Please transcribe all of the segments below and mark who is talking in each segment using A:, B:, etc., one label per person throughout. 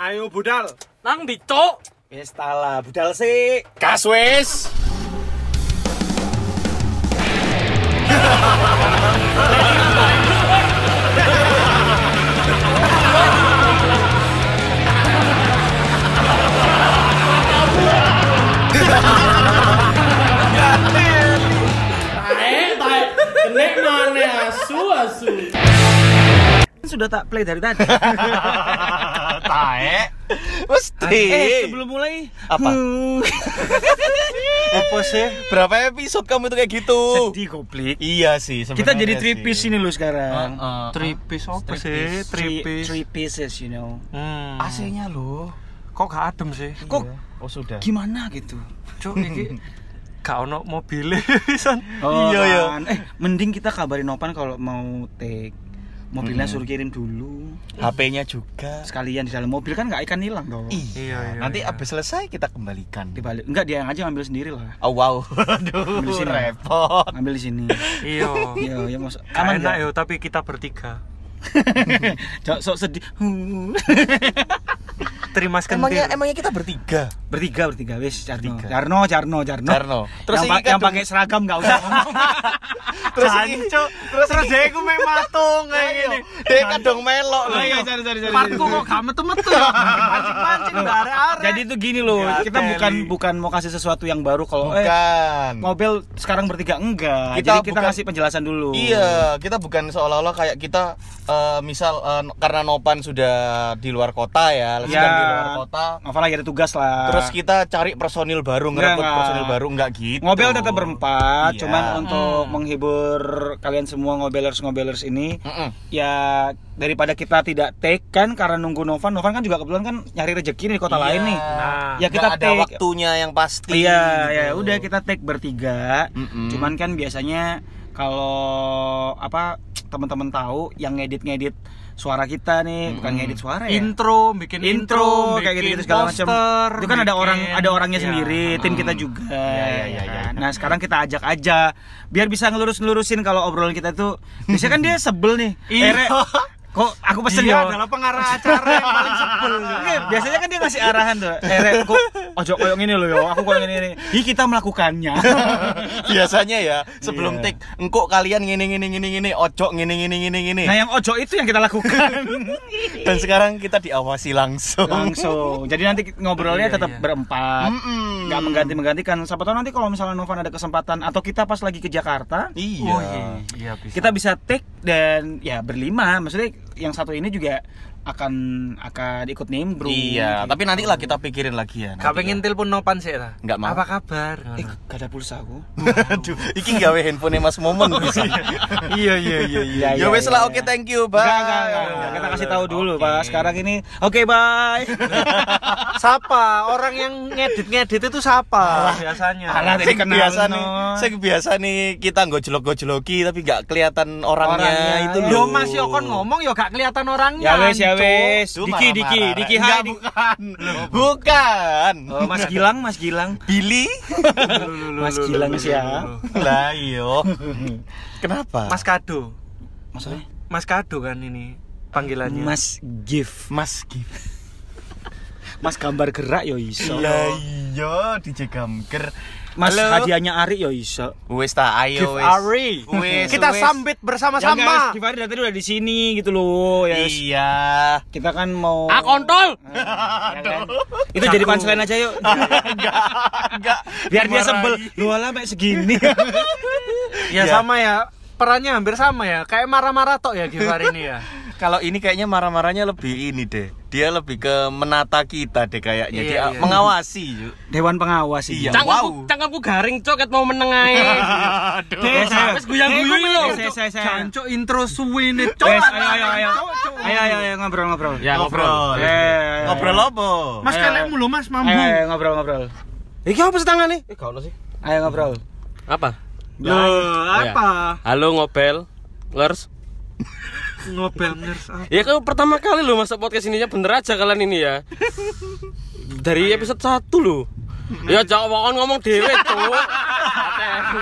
A: Ayo budal.
B: Nang ndi, Cuk?
C: Wis tala, budal sik.
D: Gas wis.
E: Eh, tai. Kenek mana asu asu.
C: Kan Sudah tak play dari tadi.
D: Tae. Mesti.
C: eh, sebelum mulai
D: Iya. Apa?
C: Hmm. Apa sih?
D: Berapa episode kamu tuh kayak gitu?
C: Sedih goblok.
D: Iya sih.
C: Kita
D: sebenarnya
C: jadi
D: sih.
C: three piece ini loh sekarang.
D: Heeh.
A: Tripis apa sih?
C: Three,
A: Tripis.
C: three pieces, you know.
A: Hmm.
D: AC-nya loh.
A: Kok gak adem sih?
C: Kok
D: Oh sudah.
C: gimana gitu?
A: Cuk iki gak ono mobilnya pisan.
D: Iya, iya.
C: kan. Eh, mending kita kabarin Nopan kalau mau take. Mobilnya suruh kirim dulu.
D: HP-nya juga.
C: Sekalian di dalam mobil kan nggak ikan hilang dong.
D: Iya.
A: iya,
D: Nanti
A: iya.
D: abis selesai kita kembalikan.
C: Dibalik. Enggak dia yang aja ngambil sendiri lah.
D: Oh wow. Aduh,
C: Ambil sini.
D: repot.
C: Ambil di sini.
A: Iya.
C: Iya, ya masuk.
A: Gak
C: Aman
A: enak
C: nggak?
A: yo, tapi kita bertiga.
C: Jangan sok sedih.
A: Terima kasih.
D: Emangnya emangnya kita bertiga.
C: bertiga bertiga wis Carno.
D: Bertiga.
C: Carno Carno Carno.
D: Carno. Terus
C: Terus yang,
D: ini
C: pa-
D: kan
C: yang pakai seragam enggak usah.
D: Terus ini
A: terus terus dia iku mek matung kayak gini.
D: Dek kadung melok loh.
C: cari cari
A: Partku kok gak metu-metu ya. Pancing-pancing arek-arek.
C: Jadi itu gini loh,
A: Ya,
C: kita
A: Teli.
C: bukan bukan mau kasih sesuatu yang baru kalau eh
D: Bukan.
C: mobil sekarang bertiga enggak.
D: Kita
C: Jadi kita
D: bukan-
C: kasih penjelasan dulu.
D: Iya, kita bukan seolah-olah kayak kita eh, misal eh, karena Nopan sudah di luar kota ya,
C: Ya.
D: sedang di luar kota.
C: Apalagi ada tugas lah.
D: Terus gitu. kita cari personil baru,
C: Enggak,
D: ngerekrut
C: enggak.
D: personil baru nggak gitu.
C: Ngobel tetap berempat,
D: Iya.
C: cuman untuk menghibur kalian semua ngobelers-ngobelers ini
D: Mm-mm.
C: ya daripada kita tidak take kan karena nunggu Novan, Novan kan juga kebetulan kan nyari rezeki nih di kota
D: Iya.
C: lain nih.
A: Nah,
C: ya
D: Nggak
C: kita
D: ada
C: take.
D: waktunya yang pasti.
C: Iya,
D: gitu.
C: ya udah kita take bertiga.
D: Mm-mm.
C: Cuman kan biasanya kalau apa teman-teman tahu yang ngedit-ngedit suara kita nih, bukan ngedit suara ya.
A: intro, bikin
C: intro, kayak
A: bikin
C: gitu, segala macam.
A: poster,
C: Itu kan ada
A: bikin- Ya,
C: orang ada orangnya
A: Iya.
C: sendiri, tim kita juga.
D: Iya, iya, iya,
C: Nah, sekarang kita ajak aja biar bisa ngelurus-ngelurusin kalau obrolan kita itu. Biasanya kan dia sebel nih.
A: Iya.
C: Eh, Re, kok aku pesen
A: Dia
C: ya.
A: adalah pengarah acara yang paling sebel.
C: Oke, biasanya kan dia ngasih arahan tuh. Eh, Re, kok ojo koyo ngene loh yo, aku koyo ngene ngene. Ih, kita melakukannya.
D: Biasanya ya sebelum
C: Iya.
D: take, engkok kalian ngini ngini ngini ngini, ojok ngini ngini ngini ngini.
C: Nah, yang ojo itu yang kita lakukan.
D: Dan sekarang kita diawasi langsung.
C: Langsung. Jadi nanti
A: Iya,
C: ngobrolnya tetap berempat.
D: Mm-mm.
C: nggak mengganti menggantikan siapa tahu nanti kalau misalnya Novan ada kesempatan atau kita pas lagi ke Jakarta
D: Iya.
A: Oh iya, iya bisa.
C: kita bisa take dan ya berlima maksudnya yang satu ini juga akan akan ikut name bro
D: Iya, tapi nanti lah kita pikirin lagi ya.
A: Gak
D: nanti
A: pengen telepon Nopan sih ta?
D: Nggak mau.
A: Apa kabar?
C: eh gak ada pulsa aku
D: Aduh, iki gawe handphone Mas Momen bisa.
A: iya iya iya iya.
D: ya wes lah, oke thank you, bye.
C: Enggak, enggak, enggak, enggak. Kita kasih tahu dulu, Pak. Sekarang ini, oke, bye.
A: Siapa? Orang yang ngedit-ngedit itu siapa biasanya?
C: Alah,
D: Sing
C: dikenal,
D: biasa
C: no.
D: nih, sing biasa nih kita ngojlok-gojloki tapi nggak kelihatan orangnya,
C: Orangnya.
D: itu loh.
A: Yo iya. Mas yo kon ngomong yo gak kelihatan orangnya.
C: Ya wes, ya
A: Cuk.
C: wes.
D: Duh,
C: Diki, Diki,
D: marah-marah.
C: Diki,
D: Enggak,
C: hai. Di-
D: bukan. Bukan.
C: Oh, Mas Gilang, Mas Gilang.
D: Billy?
C: Mas Gilang ya. siapa?
D: lah yo. Kenapa?
A: Mas Kado.
C: Maksudnya?
A: Mas Kado kan ini panggilannya.
C: Mas Gif.
D: Mas Gif.
C: Mas gambar gerak yo iso.
D: Lah iya DJ Gamger.
C: Mas
D: Halo.
C: hadiahnya Ari yo iso.
D: Wes ta ayo wes.
A: Ari.
D: Wes,
A: Kita
D: wes.
C: Ya enggak,
A: sambit
C: Mas
A: bersama-sama.
C: Givari dari tadi udah di sini gitu loh ya. wes.
D: Iya.
C: Kita kan mau
B: Ah, kontol.
C: ya kan? Itu jadi punchline aja yuk.
D: Enggak, enggak.
C: Biar dia
D: Dimarahi.
C: sebel. Lu ala kayak segini.
A: Ya,
D: Ya.
A: sama ya. Perannya hampir sama ya. Kayak marah-marah tok ya Givar ini ya.
D: Kalau ini kayaknya marah-marahnya lebih ini deh. Dia lebih ke menata kita deh kayaknya.
A: Iya,
D: Dia
A: iya.
D: mengawasi yuk.
C: Dewan pengawas sih.
D: Iya. Wow.
B: Cangkemku, cangkemku garing, Cuk, ket mau meneng ae.
A: Eh,
D: Aduh.
C: Des, ayo.
B: Wes guyang-guyu lho.
C: Des, ayo, ayo, ayo.
A: Jancuk intro suwi ini. Cuk.
C: Des, ayo, ayo, ayo. Ayo, ayo, ayo, ngobrol, ngobrol.
B: Ya
D: Ngobrol.
C: Eh, eh,
D: Ngobrol apa?
A: Mas
C: Ayo,
A: kalian
C: ayo.
A: mulu Mas
C: Ayo,
A: mambu.
C: ayo, ngobrol, ngobrol. Iki apa setangane?
D: Eh, gak ono sih.
C: Ayo ngobrol.
B: Apa?
A: Loh,
B: Iya.
A: apa?
B: Halo ngobel. Lers.
A: Ngobel ngers apa?
B: Ya kan pertama kali lo masuk podcast ininya bener aja kalian ini ya. Dari episode 1 loh. Ya jawab ngomong dewe, Cuk.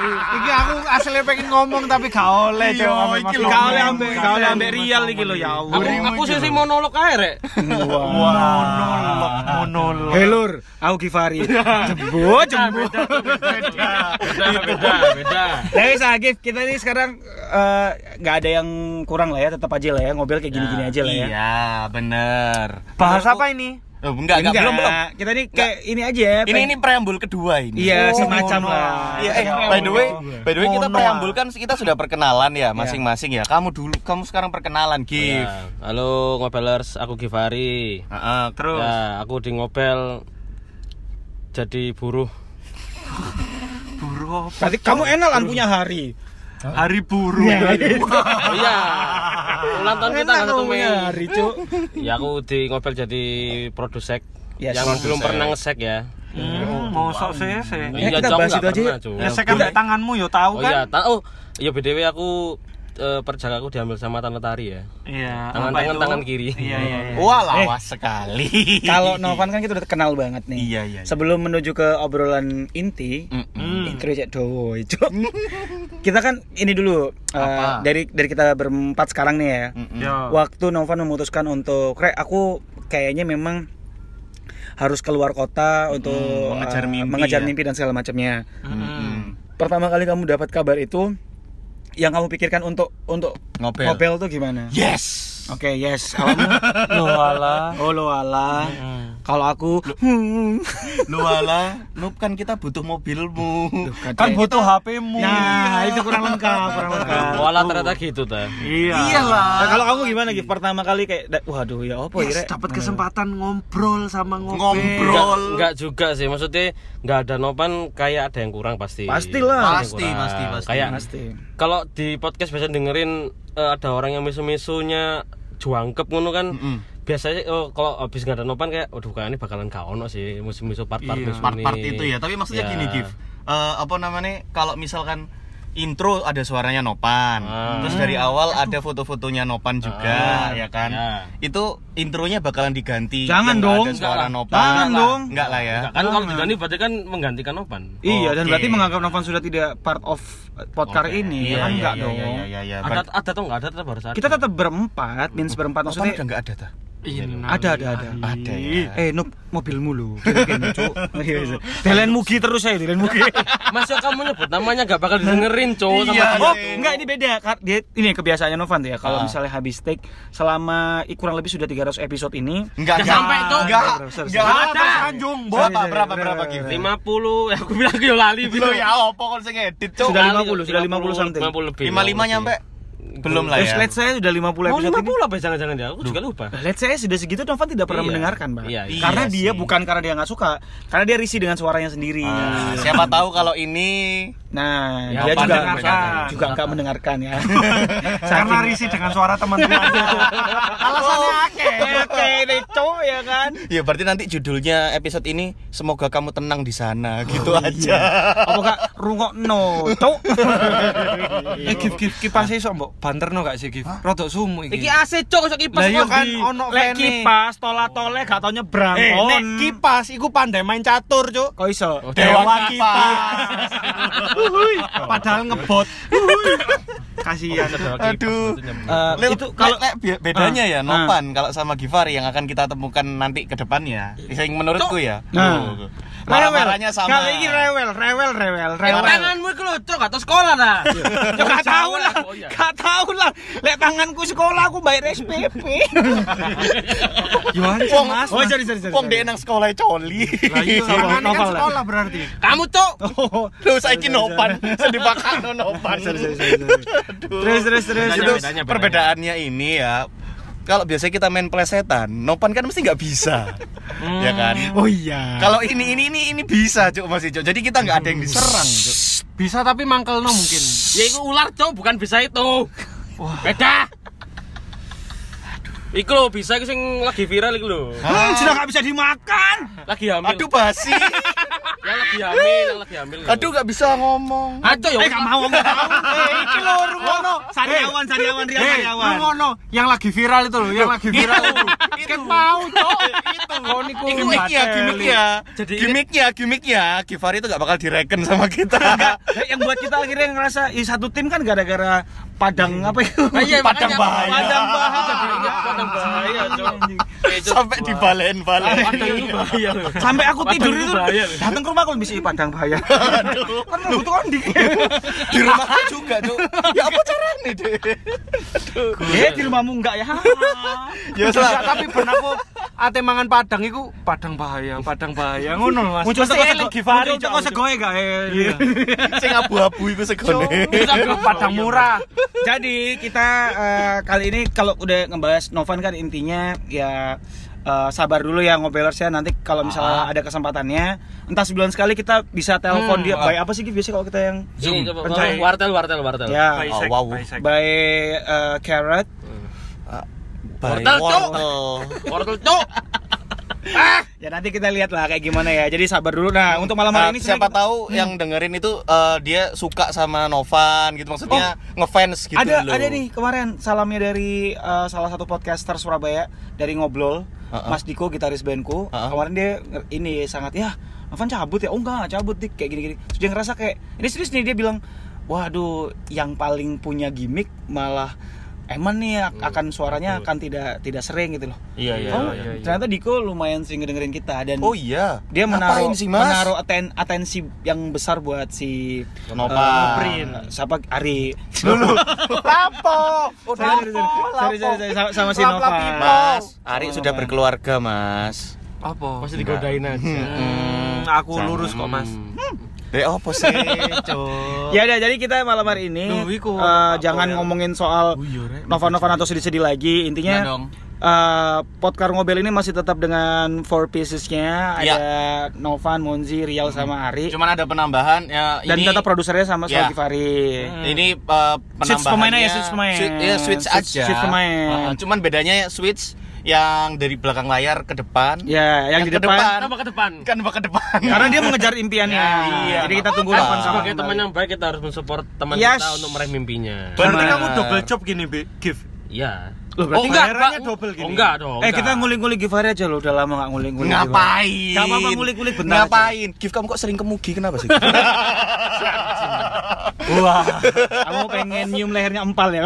A: Iki aku asli pengen ngomong tapi gak oleh
D: Iya,
A: coba.
D: iki lho.
C: Gak oleh ambek gak oleh ambek real iki lho ya Allah.
B: Aku aku sih sih monolog ae rek.
A: monolog
D: Ah.
A: monolog.
C: Eh,
A: Helur.
C: Aku Givari.
A: Jembo jembo.
B: Beda beda beda.
C: Nah, wis Agif, kita ini sekarang eh, nggak ada yang kurang lah ya, tetap aja lah ya ngobrol kayak gini-gini aja lah ya.
D: Iya, bener.
A: Bahas apa ini?
D: Oh, enggak, enggak, belum, belum.
C: Kita ini kayak ini aja ya.
D: Ini ini preambul kedua ini.
C: Eh, Iya,
A: Oh,
C: semacam
A: no.
C: lah.
D: Iya, eh, by the way, by the way kita
A: Mono.
D: preambul kan kita sudah perkenalan ya masing-masing ya. Kamu dulu, kamu sekarang perkenalan, Gif.
B: Ya, Halo ngobelers, aku Givari.
D: Heeh, terus.
B: Ya, aku di ngobel jadi buruh.
C: Berarti kamu enak lan punya hari.
D: Hari buruh.
B: Iya. Ulang tahun kita
C: Enak
B: tanggal satu
C: kamu
B: Mei.
C: punya hari, Cuk.
B: Ya aku di ngobel jadi produsek
C: Yes.
B: yang belum pernah ngesek ya.
A: Hmm, Mosok sese.
C: Ya, kita
B: Cok,
C: bahas
B: nggak
C: itu aja
B: pernah,
C: ya.
B: Cok.
A: Ngesek ambek kan tanganmu yo
B: iya.
A: tahu
B: Oh
A: kan?
B: iya, ta- oh iya BDW aku eh, perjalanan aku diambil sama Tanah Tari ya.
C: Ah,
A: Iya.
B: Tangan
A: apa
B: tangan
A: itu?
B: tangan kiri.
A: Iya iya iya.
D: Wah, lawas sekali.
C: Kalau Novan kan kita udah kenal banget nih.
D: Iya, iya, iya.
C: Sebelum menuju ke obrolan inti,
D: Mm-mm.
A: Hmm.
C: intro cek dowo, Cuk. Kita kan ini dulu eh, dari dari kita berempat sekarang nih ya.
D: Mm-mm.
A: Yo.
C: Waktu Novan memutuskan untuk, "Rek, aku kayaknya memang harus keluar kota untuk
D: mengejar
C: eh,
D: mimpi
C: mengejar
D: ya."
C: mimpi dan segala macamnya."
D: Mm-mm.
C: pertama kali kamu dapat kabar itu yang kamu pikirkan untuk untuk
D: Ngopel.
C: tuh gimana?
D: Yes.
C: Oke, yes. Kamu lo ala. Oh, lo ala. Kalau aku hmm.
D: Lu ala, lu kan kita butuh mobilmu.
A: Kan butuh HP-mu.
C: Nah, itu kurang lengkap, kurang lengkap.
B: Walah ternyata gitu ta.
A: Iya.
C: Nah,
D: Iyalah.
C: kalau kamu gimana Gif? Pertama kali kayak da- waduh ya apa ya?
A: Yes,
C: Rek?
A: dapat kesempatan Hmm. ngobrol sama ngobel.
B: Enggak,
D: Ngobrol.
B: enggak juga sih, maksudnya enggak ada nopan kayak ada yang kurang pasti.
C: Pastilah.
B: Ada yang
D: Pasti,
B: kurang.
D: pasti, pasti.
B: Kayak
C: Pasti.
B: kalau di podcast biasa dengerin eh, ada orang yang misu-misunya juangkep ngono kan. Biasanya oh, kalau habis nggak ada nopan kayak aduh kayaknya bakalan gak ono sih misu-misu part-part
D: Iya,
B: misu
D: part-part
B: ini."
D: itu ya tapi maksudnya
B: Ya.
D: gini Gif Eh, apa namanya kalau misalkan intro ada suaranya Nopan
B: Ah.
D: terus dari awal ada foto-fotonya Nopan juga
B: Ah,
D: ya kan
B: ya.
D: itu intronya bakalan diganti
C: Jangan
D: yang
C: dong.
D: ada suara
B: Enggak lah.
D: Nopan
C: Jangan dong.
D: enggak lah ya
B: Enggak, kan kalau diganti berarti kan menggantikan nopan.
C: Iya, dan
D: Oke.
C: berarti menganggap Novan sudah tidak part of eh, podcast
D: Oke. Iya,
C: ini, kan
D: iya,
C: enggak
D: iya,
C: dong.
D: iya, iya, iya.
B: Ada ada atau enggak ada tetap harus ada.
C: Kita tetap berempat, minus berempat
D: Nopan
C: maksudnya
D: udah enggak ada ta
C: ada ada ada.
D: ada ya
C: Eh, nup mobilmu lu. Gini-gini, Cuk. iya. Delen mugi terus saya, delen mugi.
B: Mas ya kamu nyebut namanya gak bakal dengerin cowok sama
D: Iya.
B: dia.
C: Oh, enggak ini beda. Kar- Dia ini kebiasaannya Novan tuh ya. Kalau
D: Ah.
C: misalnya habis take selama i- kurang lebih sudah 300 episode ini,
D: enggak
B: Jangan sampai itu.
D: enggak
C: Sorry, sorry,
D: enggak
C: sorry.
D: ada
A: Anjung,
D: berapa berapa berapa Gif
B: 50 ya aku bilang aku ya lali
D: lo ya opo kon sing edit cuk
C: Sudah 50, sudah 50 something.
B: 50 lebih.
D: 55 nyampe belum lah
C: terus
D: ya
C: let's saya sudah 50
B: Mau
C: episode ini.
B: 50 apa ya? jangan-jangan ya? Aku juga lupa.
C: Lah, Let's saya sudah segitu Novan tidak pernah
B: Iya.
C: mendengarkan, Pak.
B: Iya, iya
C: karena dia
D: sih.
C: bukan karena dia nggak suka, karena dia risih dengan suaranya sendiri.
D: Ah, siapa tahu kalau ini
C: Nah,
B: Ya,
C: dia
B: apa
C: juga
A: mendengarkan.
C: juga nggak mendengarkan ya.
A: Karena risih dengan suara teman-teman. Alasannya akeh.
C: Oh, Oke, neco ya kan.
D: Ya berarti nanti judulnya episode ini semoga kamu tenang di sana gitu aja.
C: Apa gak rungok no, Cuk.
F: Eh gif gif kipas iso mbok banterno gak sih gif? Rodok sumu iki.
B: Iki AC cok sok kipas
F: Lah, iya,
B: kok.
F: kan
A: ono
C: Lek kipas tola-tole gak taunya
F: Eh
C: brangkon.
F: nek kipas iku pandai main catur, Cuk.
C: Kok iso?
D: Dewa
F: kipas.
A: padahal ngebot.
C: Kasihan.
D: Iya. Aduh.
C: Eh,
D: Lek-
C: itu
D: lek-
C: kalau
D: lek bi- bedanya
C: Ah,
D: ya Nopan kalau sama Givari yang akan kita temukan nanti ke depannya. Yang menurutku ya.
C: Nah.
D: Tuh. Marah-marahnya sama.
C: Kali ini rewel, rewel, rewel, rewel.
B: Tanganmu iku lho cok atau sekolah dah.
C: Gak tau lah,
B: Oh, iya.
C: gak tau lah. Lek tanganku sekolah aku bayar SPP.
F: Yo ancam
D: Wong-
F: Mas.
C: Oh, sorry, sorry, sorry. iya.
D: Wong dia nang sekolah ya, coli.
A: Tangan kan
C: Novel lah.
A: sekolah berarti.
B: Kamu cok.
C: Oh,
D: Lu saiki Nopan, sedipakano Nopan.
C: sorry, sorry, sorry, sorry.
D: Aduh.
C: Terus, terus, terus.
D: Itu
C: terus.
B: bedanya, bedanya.
D: perbedaannya ini ya. Kalau biasanya kita main plesetan, Nopan kan mesti nggak bisa. ya kan?
C: Oh iya.
D: Kalau ini ini ini ini bisa cuk masih cuk. Jadi kita nggak ada yang diserang cuk.
F: Bisa tapi mangkelno mungkin.
B: Ya iku ular cok bukan bisa itu. Beda. Iku lho bisa iku sing lagi viral iku lho.
C: Hmm, sudah gak bisa dimakan.
B: Lagi hamil.
D: Aduh basi.
B: yang lagi hamil yang lagi hamil
D: Aduh nggak bisa ngomong.
B: Ah,
C: Aco
B: Oh,
C: ya. Eh gak mau enggak mau. Eh iki lho ngono.
A: Sandiawan,
C: Sandiawan Ria
A: Hei, lu ngono Eh, yang lagi viral itu loh, yang lagi viral. Kayak mau, Cok. Itu. Kau niku
D: Gimik ya, gimik ya.
B: Jadi ini-
D: Gimik ya, gimik ya. Givari itu nggak bakal direken sama kita.
C: yang buat kita akhirnya ngerasa ih satu tim kan gara-gara padang apa itu?
D: Padang bahaya.
C: Padang bahaya.
B: Jadi ingat padang bahaya cok Kecut
D: Sampai
B: gua.
D: dibalen-balen.
B: padang itu bahaya loh
C: Sampai aku
B: Padang
C: tidur itu
B: bahaya loh.
C: datang ke rumah aku bisa "Ih, padang bahaya.
D: Aduh.
C: Kan mau butuh kondi.
D: Di rumahku juga, Cuk. Ya apa caranya, Dek?
C: Eh di rumahmu enggak ya?
D: Ya
A: Enggak,
D: salah.
A: tapi ben aku ate mangan padang iku padang bahaya, padang bahaya ngono lho, Mas.
C: Muncul
A: Mesti
C: teko
A: eling
C: sego.
A: Givari,
C: Muncul teko
A: Cok.
C: segoe gak eh.
D: Sing abu-abu iku segone.
A: Iku padang murah.
C: Jadi kita eh, kali ini kalau udah ngebahas Novan kan intinya ya eh, sabar dulu ya ngobelers ya nanti kalau misalnya ada kesempatannya entah sebulan sekali kita bisa telepon dia by apa sih Gif, biasanya kalau kita yang
B: Ini Iya, coba
C: Pencari.
B: wartel wartel wartel
C: ya
D: Oh, wow.
C: by eh, carrot
D: Baik,
B: Wortel, Cuk.
D: wortel.
B: wartel cok
C: ya nanti kita lihat lah kayak gimana ya jadi sabar dulu nah untuk malam hari
D: Ah,
C: ini
D: siapa
C: sebenarnya Hmm.
D: tahu yang dengerin itu eh, dia suka sama Novan gitu maksudnya ngefans
C: kita-
D: gitu
C: Oh.
D: loh.
C: ada ada nih kemarin salamnya dari eh, salah satu podcaster Surabaya dari ngobrol
D: Uh-uh.
C: Mas Diko gitaris bandku
D: Uh-uh.
C: kemarin dia nger- ini sangat ya Novan cabut ya oh enggak cabut dik kayak gini gini terus dia ngerasa kayak ini serius nih dia bilang waduh yang paling punya gimmick malah Eman nih ak- akan suaranya akan tidak tidak sering gitu loh
D: Iya Hmm, iya.
C: oh ternyata Diko lumayan sering dengerin kita dan
D: Oh iya.
C: dia menaruh
D: Ngapain sih, Mas?
C: menaruh aten- atensi yang besar buat si
D: Nopan.
C: eh, siapa Ari
A: Lapo.
C: Sorry, sorry, sorry. Sorry, sorry, sorry, sama, sama si
A: Lap-lap
C: Nova.
A: pipo.
D: Mas,
C: Oh.
D: Ari sudah berkeluarga, Mas.
A: Apa?
B: pasti digodain aja Hmm.
A: Hmm, aku lurus kok, Mas.
D: Dek opo sih?
A: Cok.
C: Ya udah, jadi kita malam hari ini
A: Duh, iku,
C: eh,
A: apa
C: jangan
A: ya?
C: ngomongin soal
D: eh,
C: Nova-Nova atau sedih-sedih lagi. Intinya
D: Nggak dong.
C: eh, Podcar Ngobel ini masih tetap dengan four pieces-nya
D: Ya.
C: ada Novan, Monzi, Rial sama Ari
D: Cuman ada penambahan ya
C: Iya. dan
D: ini
C: tetap produsernya sama
D: Ya.
C: Soal Givari.
D: ini uh,
C: Switch
D: penambahannya-
C: pemain aja, switch pemain.
D: Swi- ya, switch,
C: Switch-
D: aja.
C: switch pemain.
D: Uh, cuman bedanya switch yang dari belakang layar ke depan.
C: Ya, yang, di
D: ke
C: depan.
B: kenapa ke depan
D: Kan bakal ke depan.
C: Karena dia mengejar impiannya.
D: iya.
C: Jadi kita tunggu
D: Kan
C: Novan sama
B: sebagai teman
C: kembali.
B: yang baik kita harus mensupport teman
C: Yes.
B: kita untuk meraih mimpinya
F: Berarti
D: Benar.
F: kamu double job gini, Bi. Give.
B: iya
C: Loh, berarti
B: enggak,
F: bayarannya
B: Pak.
F: double gini.
B: Oh, enggak dong.
C: Eh, kita
B: enggak.
C: ngulik-ngulik Givari aja loh, udah lama gak ngulik-ngulik. Givari.
D: Ngapain?
C: Gak apa-apa, ngulik-ngulik bentar aja.
D: Ngapain? Gif kamu kok sering kemugi kenapa sih?
C: Wah, kamu pengen nyium lehernya empal ya?